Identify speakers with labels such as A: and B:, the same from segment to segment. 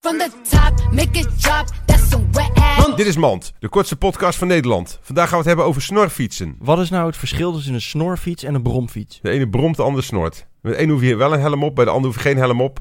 A: From the top, make it drop. That's some wet ass.
B: Dit is Mand, de kortste podcast van Nederland. Vandaag gaan we het hebben over snorfietsen.
C: Wat is nou het verschil tussen een snorfiets en een bromfiets?
B: De ene bromt, de ander snort. Met de ene hoef je wel een helm op, bij de ander hoef je geen helm op.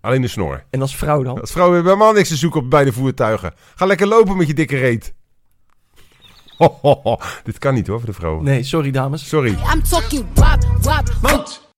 B: Alleen de snor.
C: En als vrouw dan?
B: Dat vrouwen hebben helemaal niks te zoeken op beide voertuigen. Ga lekker lopen met je dikke reet. Ho, ho, ho. Dit kan niet hoor, voor de vrouwen.
C: Nee, sorry dames.
B: Sorry.
A: I'm talking wop, wop, wop.